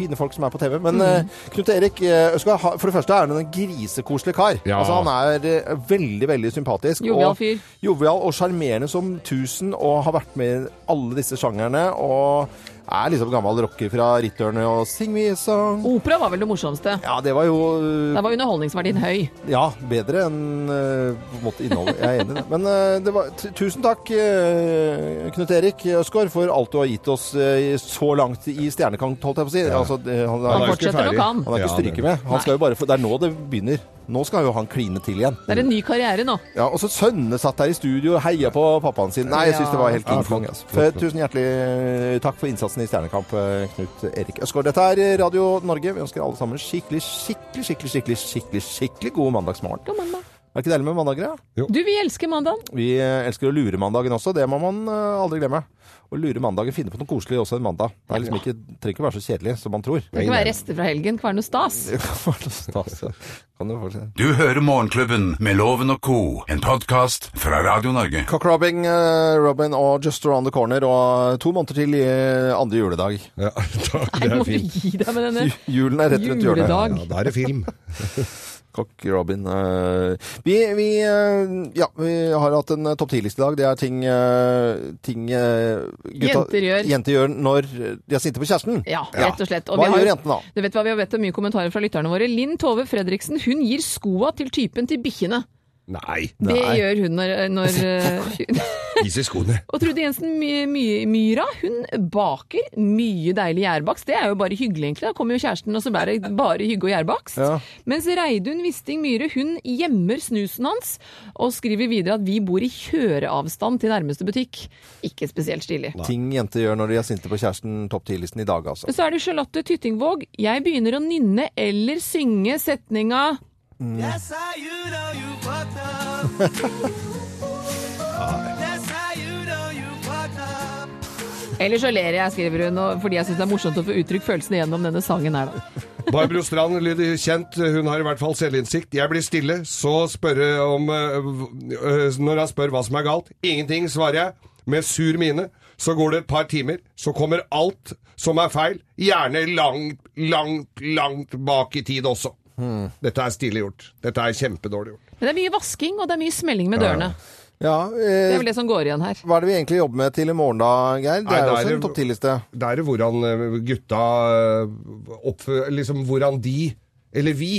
Speaker 1: fine folk som er på TV. Men eh,
Speaker 3: Mm.
Speaker 1: Knut Erik eh, Østgaard, ha- for det første er han en grisekoselig kar.
Speaker 2: Ja.
Speaker 1: Altså, han er eh, veldig, veldig sympatisk.
Speaker 3: Jovial
Speaker 1: og-
Speaker 3: fyr.
Speaker 1: Jovial og sjarmerende som tusen, og har vært med i alle disse sjangerne. Og er liksom gammel rocker fra Rittørne og Sing Me a Song.
Speaker 3: Opera var vel det morsomste.
Speaker 1: Ja, det var jo eh,
Speaker 3: Der var underholdningsverdien høy.
Speaker 1: ja, bedre enn eh, på en måte innholdet. Jeg er enig i det. Men eh, det var, t tusen takk, eh, Knut Erik Øsgaard, for alt du har gitt oss eh, så langt i Stjernekamp, holdt jeg på å si. Altså, det- han, han,
Speaker 2: Han er jo
Speaker 1: han,
Speaker 2: ikke
Speaker 3: fortsetter nok
Speaker 2: ferdig.
Speaker 3: han.
Speaker 1: har ikke
Speaker 2: Ja, det-
Speaker 1: stryket med. Han skal jo bare få, det er nå det begynner. Nå skal jo han kline til igjen.
Speaker 3: Det er en ny karriere nå.
Speaker 1: Ja, og så sønnene satt der i studio og heia på pappaen sin. Nei, jeg syns det var helt king kong. Altså. For, tusen hjertelig eh, takk for innsatsen i Stjernekamp, eh, Knut Erik Øsgaard. Dette er Radio Norge. Vi ønsker alle sammen skikkelig, skikkelig, skikkelig, skikkelig, skikkelig, skikkelig god mandagsmorgen.
Speaker 3: God mandag.
Speaker 1: Er ikke deilig med mandager, da?
Speaker 3: Du, vi elsker mandagen.
Speaker 1: Vi eh, elsker å lure mandagen også, det må man eh, aldri glemme. Å lure mandagen, finne på noe koselig også en mandag. Det er liksom ikke, trenger ikke være så kjedelig som man tror.
Speaker 3: Det kan være rester fra helgen. Kan være noe stas.
Speaker 1: Det kan være noe stas, ja. Kan jo fortsette.
Speaker 4: Du hører Morgenklubben med Loven og Co., en podkast fra Radio Norge.
Speaker 1: Cock Robin, eh, Robin og Just Around the Corner og to måneder til i eh, andre juledag.
Speaker 2: Ja, takk,
Speaker 3: Nei,
Speaker 2: det
Speaker 3: må du
Speaker 2: er fint.
Speaker 3: gi deg med denne.
Speaker 1: Julen er rett rundt hjørnet.
Speaker 3: Juledag.
Speaker 2: Ja, da er det film.
Speaker 1: Cock Robin. eh, Vi, vi, eh, ja, vi har hatt en eh, topp 10-liste i dag. Det er ting, eh, ting eh, gutta-
Speaker 3: Jenter gjør.
Speaker 1: Jenter gjør når de er sinte på kjæresten.
Speaker 3: Ja, rett og slett. Og
Speaker 1: Hva
Speaker 3: vi har-
Speaker 1: gjør jentene da?
Speaker 3: Du vet hva, Vi har bedt om mye kommentarer fra lytterne våre. Linn Tove Fredriksen hun gir skoa til typen til bikkjene.
Speaker 2: Nei,
Speaker 3: Det
Speaker 1: Nei.
Speaker 3: gjør hun når, når eh,
Speaker 2: is i skoene.
Speaker 3: Og Trude Jensen My My Myra hun baker mye deilig gjærbakst. Det er jo bare hyggelig, egentlig. Da kommer jo kjæresten, og så blir det bare hygge og gjærbakst.
Speaker 1: Ja.
Speaker 3: Mens Reidun Wisting Myhre hun gjemmer snusen hans, og skriver videre at vi bor i kjøreavstand til nærmeste butikk. Ikke spesielt stilig.
Speaker 1: Ting jenter gjør når de er sinte på kjæresten, topp 10-listen i dag, altså.
Speaker 3: Så er det Charlotte Tyttingvåg. Jeg begynner å nynne eller synge setninga
Speaker 5: That's how you know you fucked up. That's how you know you fucked up.
Speaker 3: Eller så ler jeg, skriver hun, og- fordi jeg syns det er morsomt å få uttrykt følelsene gjennom denne sangen her, da.
Speaker 2: Barbro Strand lyder kjent. Hun har i hvert fall selvinnsikt. Jeg blir stille, så spørre om eh, eh, Når han spør hva som er galt. Ingenting, svarer jeg. Med sur mine. Så går det et par timer, så kommer alt som er feil. Gjerne langt, langt, langt bak i tid også. Dette er stille gjort. Dette er kjempedårlig gjort.
Speaker 3: Men det er mye vasking, og det er mye smelling med dørene.
Speaker 1: Ja,
Speaker 3: Det
Speaker 1: eh,
Speaker 3: er vel det som går igjen her.
Speaker 1: hva er det vi egentlig jobber med til i morgen da, Geir? Det
Speaker 2: Nei,
Speaker 1: er jo
Speaker 2: da er
Speaker 1: også
Speaker 2: det-
Speaker 1: en topp 10-liste.
Speaker 2: Det er hvordan eh, gutta eh, oppfø- Liksom hvordan de, eller vi,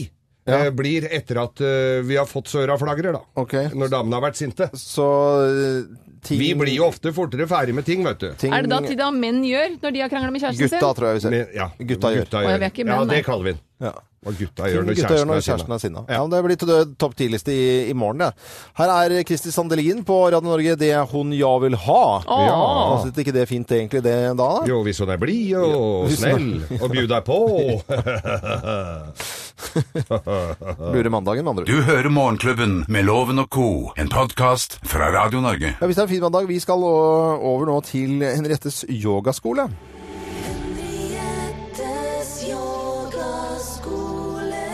Speaker 1: Ja.
Speaker 2: eh, blir etter at eh, vi har fått søra-flagrer, da.
Speaker 1: Ok,
Speaker 2: Når damene har vært sinte.
Speaker 1: så eh, ting,
Speaker 2: Vi blir jo ofte fortere ferdig med ting, vet du.
Speaker 1: ting,
Speaker 3: Er det da til det men gjør, når de har krangla med kjæresten
Speaker 1: Gutta,
Speaker 3: sin?
Speaker 1: tror jeg vi ser.
Speaker 2: Men, ja,
Speaker 1: Gutta gjør.
Speaker 3: Å, ja, vi er ikke
Speaker 2: ja,
Speaker 3: menn, nei.
Speaker 2: det kaller vi den.
Speaker 1: Ja.
Speaker 2: Hva gutta
Speaker 1: Ting
Speaker 2: gjør når
Speaker 1: gutta gjør
Speaker 2: kjæresten
Speaker 1: når
Speaker 2: er sinna.
Speaker 1: kjæresten er sinna. Ja. men det blir til det topp 10-liste i, i morgen. Det. Her er Kristi Sandelin på Radio Norge, 'Det er hun ja vil ha'.
Speaker 3: Åh.
Speaker 1: Ja. Passet ikke det fint egentlig det da? da?
Speaker 2: Jo, hvis hun er blid og
Speaker 1: Hvis hun er-
Speaker 2: snill og bjuder deg på.
Speaker 1: Lurer mandagen, med andre ord.
Speaker 4: Du hører Morgenklubben med Loven og Co. En podkast fra Radio Norge.
Speaker 1: Ja, hvis det er en fin mandag, vi skal å- over nå til Henriettes yogaskole.
Speaker 8: Henriettes yogaskole.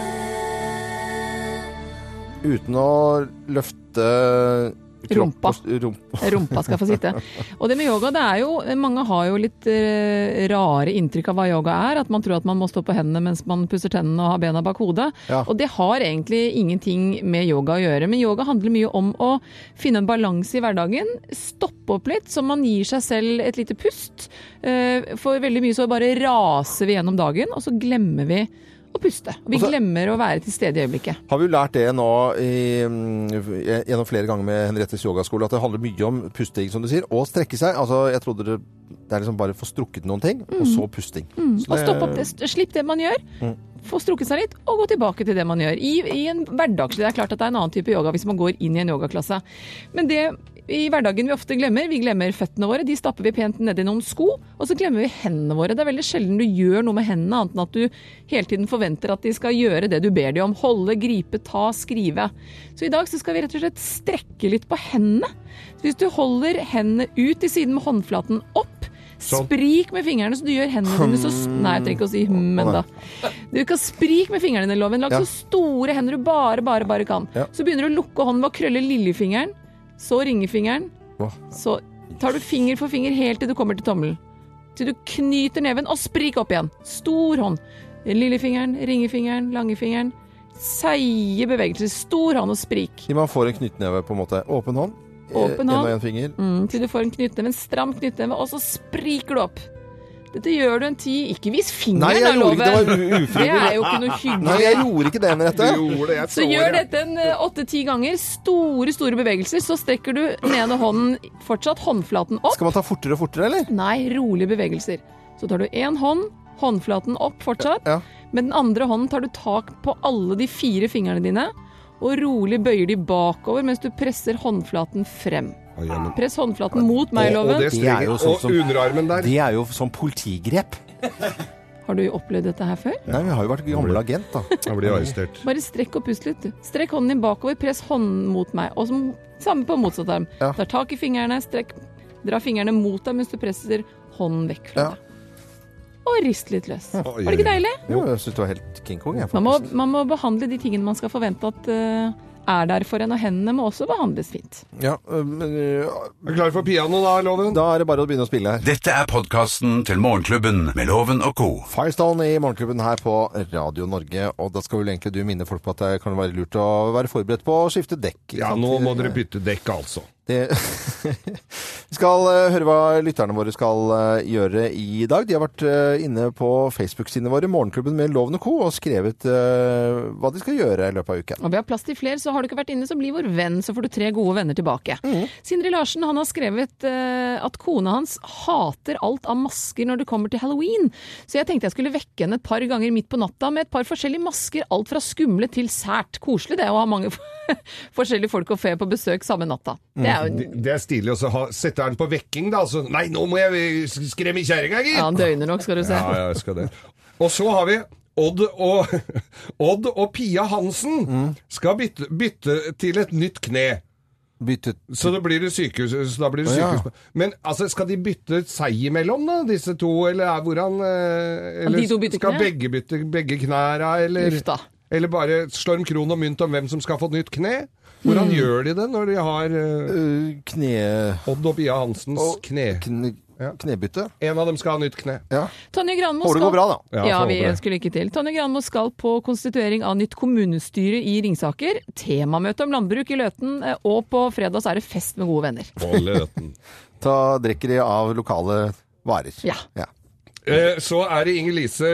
Speaker 1: Uten å løfte kropp
Speaker 3: Rumpa.
Speaker 1: og- rump-
Speaker 3: Rumpa skal få sitte. Og det med yoga, det er jo Mange har jo litt eh, rare inntrykk av hva yoga er. At man tror at man må stå på hendene mens man pusser tennene og har bena bak hodet.
Speaker 1: Ja.
Speaker 3: Og det har egentlig ingenting med yoga å gjøre. Men yoga handler mye om å finne en balanse i hverdagen. Stoppe opp litt, så man gir seg selv et lite pust. Eh, For veldig mye så bare raser vi gjennom dagen, og så glemmer vi å puste. Og vi
Speaker 1: Og så-
Speaker 3: glemmer å være til stede i øyeblikket.
Speaker 1: Har vi jo lært det nå i, mm, gjennom flere ganger med Henriettes yogaskole, at det handler mye om pusting, som du sier, og strekke seg. Altså, jeg trodde det, det er liksom bare få strukket noen ting, og så pusting. Så
Speaker 3: Mm. Og stopp opp det, slipp det man gjør, få strukket seg litt, og gå tilbake til det man gjør. I, i en hverdagslig, Det er klart at det er en annen type yoga hvis man går inn i en yogaklasse. Men det i hverdagen vi ofte glemmer, vi glemmer føttene våre. De stapper vi pent ned i noen sko, og så glemmer vi hendene våre. Det er veldig sjelden du gjør noe med hendene, annet enn at du hele tiden forventer at de skal gjøre det du ber dem om. Holde, gripe, ta, skrive. Så i dag så skal vi rett og slett strekke litt på hendene. Så hvis du holder hendene ut til siden med håndflaten opp,
Speaker 2: Sånn.
Speaker 3: Sprik med fingrene, så du gjør hendene dine så s- Nei, jeg trenger ikke å si hm enda. Du kan sprike med fingrene dine, Loven. Lag
Speaker 1: Ja.
Speaker 3: så store hender du bare, bare, bare kan.
Speaker 1: Ja.
Speaker 3: Så begynner du å lukke hånden ved å krølle lillefingeren, så ringefingeren.
Speaker 1: Hva?
Speaker 3: Så tar du finger for finger helt til du kommer til tommelen. Til du knyter neven og sprik opp igjen. Stor hånd. Lillefingeren, ringefingeren, langefingeren. Seige bevegelser. Stor hånd og sprik.
Speaker 1: Til man får en knyttneve, på en måte. Åpen hånd. eh,
Speaker 3: Åpen
Speaker 1: En og
Speaker 3: hånd.
Speaker 1: en finger.
Speaker 3: Mm, til du får en knyttneve, en stram knyttneve, og så spriker du opp. Dette gjør du en ti Ikke vis
Speaker 1: Nei,
Speaker 3: fingeren,
Speaker 1: jeg
Speaker 3: da,
Speaker 1: gjorde ikke det.
Speaker 3: Loven!
Speaker 1: Det var u-
Speaker 3: Det
Speaker 1: ufrivillig.
Speaker 3: er jo ikke noe
Speaker 1: Nei,
Speaker 3: hyggelig.
Speaker 1: jeg gjorde ikke det, Henriette.
Speaker 3: Så gjør dette en eh, åtte-ti ganger. Store, store bevegelser. Så strekker du den ene hånden fortsatt, håndflaten opp.
Speaker 1: Skal man ta fortere og fortere, eller?
Speaker 3: Nei, rolige bevegelser. Så tar du én hånd, håndflaten opp fortsatt.
Speaker 1: Ja.
Speaker 3: Med den andre hånden tar du tak på alle de fire fingrene dine, og rolig bøyer de bakover mens du presser håndflaten frem. Press håndflaten mot meg,
Speaker 2: Og, og
Speaker 3: Loven.
Speaker 2: det
Speaker 1: Det er
Speaker 2: strenger.
Speaker 1: jo
Speaker 2: Og,
Speaker 1: sånn som-
Speaker 2: underarmen der.
Speaker 1: Det er jo som politigrep.
Speaker 3: Har du opplevd dette her før?
Speaker 1: Nei, vi har jo vært gamle agent, da.
Speaker 2: Jeg blir arrestert.
Speaker 3: Bare strekk og pust litt. du. Strekk hånden din bakover, press hånden mot meg. Og som, samme på motsatt arm.
Speaker 1: Ja.
Speaker 3: Tar tak i fingrene, strekk, dra fingrene mot deg mens du presser hånden vekk fra
Speaker 1: Ja.
Speaker 3: deg. Og rist litt løs.
Speaker 2: Oi,
Speaker 3: Var det ikke
Speaker 2: oi, oi.
Speaker 3: deilig?
Speaker 1: Jo, jeg syns det var helt King Kong, jeg,
Speaker 3: Man må,
Speaker 1: faktisk.
Speaker 3: man må behandle de tingene man skal forvente at eh, er der for en, og hendene må også behandles fint.
Speaker 1: Ja, øh, men, øh,
Speaker 2: Er du klar for piano da, Loven?
Speaker 1: da er det bare å begynne å spille her.
Speaker 4: Dette er podkasten til Morgenklubben med Loven og Co.
Speaker 1: Firestone i Morgenklubben her på Radio Norge. Og da skal vel egentlig du minne folk på at det kan være lurt å være forberedt på å skifte dekk. ikke
Speaker 2: Ja,
Speaker 1: sant?
Speaker 2: nå må dere bytte dekk, altså.
Speaker 1: Det Vi skal eh, høre hva lytterne våre skal eh, gjøre i dag. De har vært eh, inne på Facebook-sidene våre, Morgenklubben med Loven og Co., og skrevet eh, hva de skal gjøre i løpet av uken.
Speaker 3: Og vi har plass til flere, så har du ikke vært inne, så bli vår venn, så får du tre gode venner tilbake.
Speaker 1: Mm.
Speaker 3: Sindre Larsen han har skrevet eh, at kona hans hater alt av masker når det kommer til halloween, så jeg tenkte jeg skulle vekke henne et par ganger midt på natta med et par forskjellige masker, alt fra skumle til sært. Koselig det å ha mange forskjellige folk og fe på besøk samme natta. Det er jo
Speaker 1: Mm.
Speaker 2: Det, det er stilig å så ha- sette den på vekking, da. Altså. Nei, nå må jeg eh, skremme kjerringa, gitt!
Speaker 3: ja, han døgner nok, skal du se.
Speaker 2: Ja, ja, jeg skal det. Og så har vi Odd og, Odd og Pia Hansen skal bytte, bytte til et nytt kne.
Speaker 1: Byttet
Speaker 2: Så da blir det sykehus. Så da blir det
Speaker 1: Å, ja.
Speaker 2: sykehus. Men altså, skal de bytte seg imellom, da, disse to? Eller er hvordan eh, eller
Speaker 3: de to bytter
Speaker 2: Skal
Speaker 3: knær?
Speaker 2: begge bytte begge knæra, eller
Speaker 3: Uff da.
Speaker 2: Eller bare slå om kron og mynt om hvem som skal få nytt kne?
Speaker 3: Mm.
Speaker 2: Hvordan gjør de det når de har eh,
Speaker 1: øh, kne...
Speaker 2: Odd og Pia Hansens
Speaker 1: og-
Speaker 2: kne?
Speaker 1: kn- Knebytte.
Speaker 2: En av dem skal ha nytt kne.
Speaker 3: Tonje Granmo
Speaker 1: Håper det går
Speaker 3: skal...
Speaker 1: bra, da.
Speaker 2: Ja,
Speaker 3: Ja,
Speaker 2: får håpe
Speaker 3: vi
Speaker 2: det.
Speaker 3: ønsker lykke til. Tonje Granmo skal på konstituering av nytt kommunestyre i Ringsaker. Temamøte om landbruk i Løten, eh, og på fredag så er det fest med gode venner.
Speaker 10: På Løten.
Speaker 1: Ta drikker de av lokale varer.
Speaker 3: Ja.
Speaker 2: Eh, Så er det Inger Lise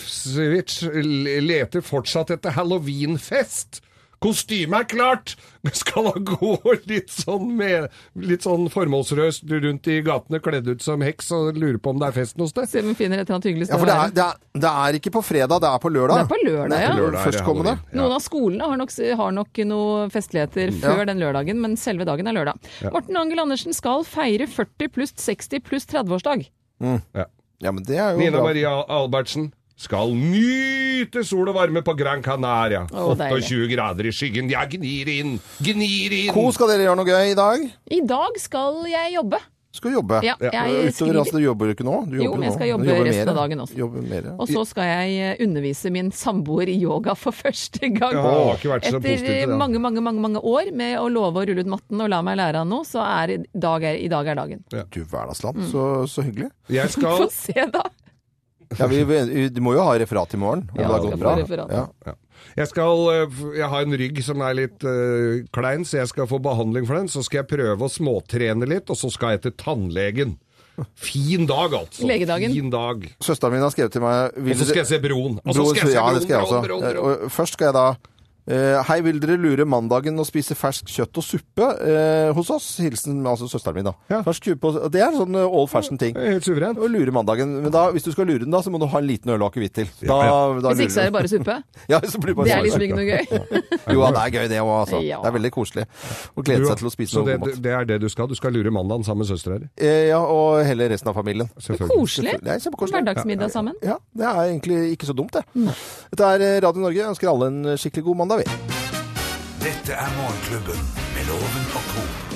Speaker 2: Josefsvic l- leter fortsatt etter halloweenfest. Kostymet er klart! Skal han gå litt sånn, med, litt sånn formålsløst rundt i gatene kledd ut som heks og lurer på om det er fest noe sted?
Speaker 3: Se om hun finner et eller annet hyggelig
Speaker 1: Ja,
Speaker 3: sted
Speaker 1: for
Speaker 3: å
Speaker 1: det
Speaker 3: være.
Speaker 1: er, det, er, det er ikke på fredag, det er på lørdag.
Speaker 3: Det er på lørdag,
Speaker 1: Nei,
Speaker 3: ja.
Speaker 2: Lørdag er det
Speaker 1: Førstkommende.
Speaker 2: halloween.
Speaker 3: Noen av skolene har nok, har nok noen festligheter
Speaker 1: Mm,
Speaker 3: før den lørdagen, men selve dagen er lørdag. Morten Angel Andersen skal feire 40 pluss 60 pluss 30-årsdag.
Speaker 1: Ja, men det er jo
Speaker 2: Nina
Speaker 1: bra.
Speaker 2: Maria Albertsen skal nyte sol og varme på Gran Canaria.
Speaker 3: Å, deilig.
Speaker 2: 28 grader i skyggen. Ja, gnir inn! Gnir inn!
Speaker 1: Ko, skal dere gjøre noe gøy i dag?
Speaker 3: I dag skal jeg jobbe.
Speaker 1: Skal jobbe.
Speaker 3: Ja, jeg
Speaker 1: Utover,
Speaker 3: skriver,
Speaker 1: altså, du jobber jo ikke nå. Du
Speaker 3: Jo,
Speaker 1: jobber
Speaker 3: men jeg
Speaker 1: nå.
Speaker 3: skal
Speaker 1: Du
Speaker 3: jobbe
Speaker 1: jobber
Speaker 3: resten
Speaker 1: mer.
Speaker 3: av dagen også.
Speaker 1: Jobber mer.
Speaker 3: og så skal jeg eh, undervise min samboer i yoga for første gang.
Speaker 2: Ja, jeg har ikke vært så positiv til
Speaker 3: Etter
Speaker 2: det.
Speaker 3: mange, mange mange, mange år med å love å rulle ut matten og la meg lære han noe, så er i dag er, i dag er dagen.
Speaker 1: Du hverdagsland,
Speaker 3: Mm.
Speaker 1: så, så hyggelig.
Speaker 2: Jeg skal
Speaker 3: Få se, da!
Speaker 1: Ja, vi, vi, du må jo ha referat i morgen. Om
Speaker 3: Ja,
Speaker 1: det har
Speaker 3: vi
Speaker 1: gått
Speaker 3: skal
Speaker 1: bra.
Speaker 3: få referat.
Speaker 1: Ja.
Speaker 2: Jeg skal eh, f- Jeg har en rygg som er litt eh, klein, så jeg skal få behandling for den. Så skal jeg prøve å småtrene litt, og så skal jeg til tannlegen. Fin dag, altså.
Speaker 3: Legedagen.
Speaker 2: Fin dag.
Speaker 1: Søsteren min har skrevet til meg vil
Speaker 2: Og så skal
Speaker 1: dere-
Speaker 2: jeg se broen. Og så
Speaker 1: Bror,
Speaker 2: skal jeg se
Speaker 1: ja,
Speaker 2: broen,
Speaker 1: det skal jeg også.
Speaker 2: broen, broen, broen.
Speaker 1: Og Først skal jeg da eh, Hei, vil dere lure mandagen og spise fersk kjøtt og suppe eh, hos oss? Hilsen altså søsteren min, da.
Speaker 2: Ja.
Speaker 1: Fersk suppe og og Det er sånn eh, old fashion ting.
Speaker 2: Det er Helt suveren.
Speaker 1: Å lure mandagen. Men da, hvis du skal lure den, da, så må du ha en liten øl og akevitt til. Da, da
Speaker 3: Hvis ikke så
Speaker 1: lurer
Speaker 3: er det bare suppe.
Speaker 1: du. Ja, så blir det bare
Speaker 3: Det er
Speaker 1: sånn.
Speaker 3: liksom ikke noe gøy.
Speaker 1: Jo, ja, det er gøy, det òg, altså.
Speaker 3: Ja.
Speaker 1: Det er veldig koselig å glede seg til å spise
Speaker 2: så
Speaker 1: noe
Speaker 2: det,
Speaker 1: god mat.
Speaker 2: det er det du skal. Du skal lure mandagen sammen med søstera di.
Speaker 1: Eh, Ja, og hele resten av familien.
Speaker 2: Selvfølgelig.
Speaker 3: Koselig.
Speaker 1: Det er kjempekoselig.
Speaker 3: Hverdagsmiddag sammen.
Speaker 1: Ja, det er egentlig ikke så dumt, det. Dette er eh, Radio Norge. Ønsker alle en skikkelig god mandag, vi.
Speaker 4: Dette er Morgenklubben med Loven og Co.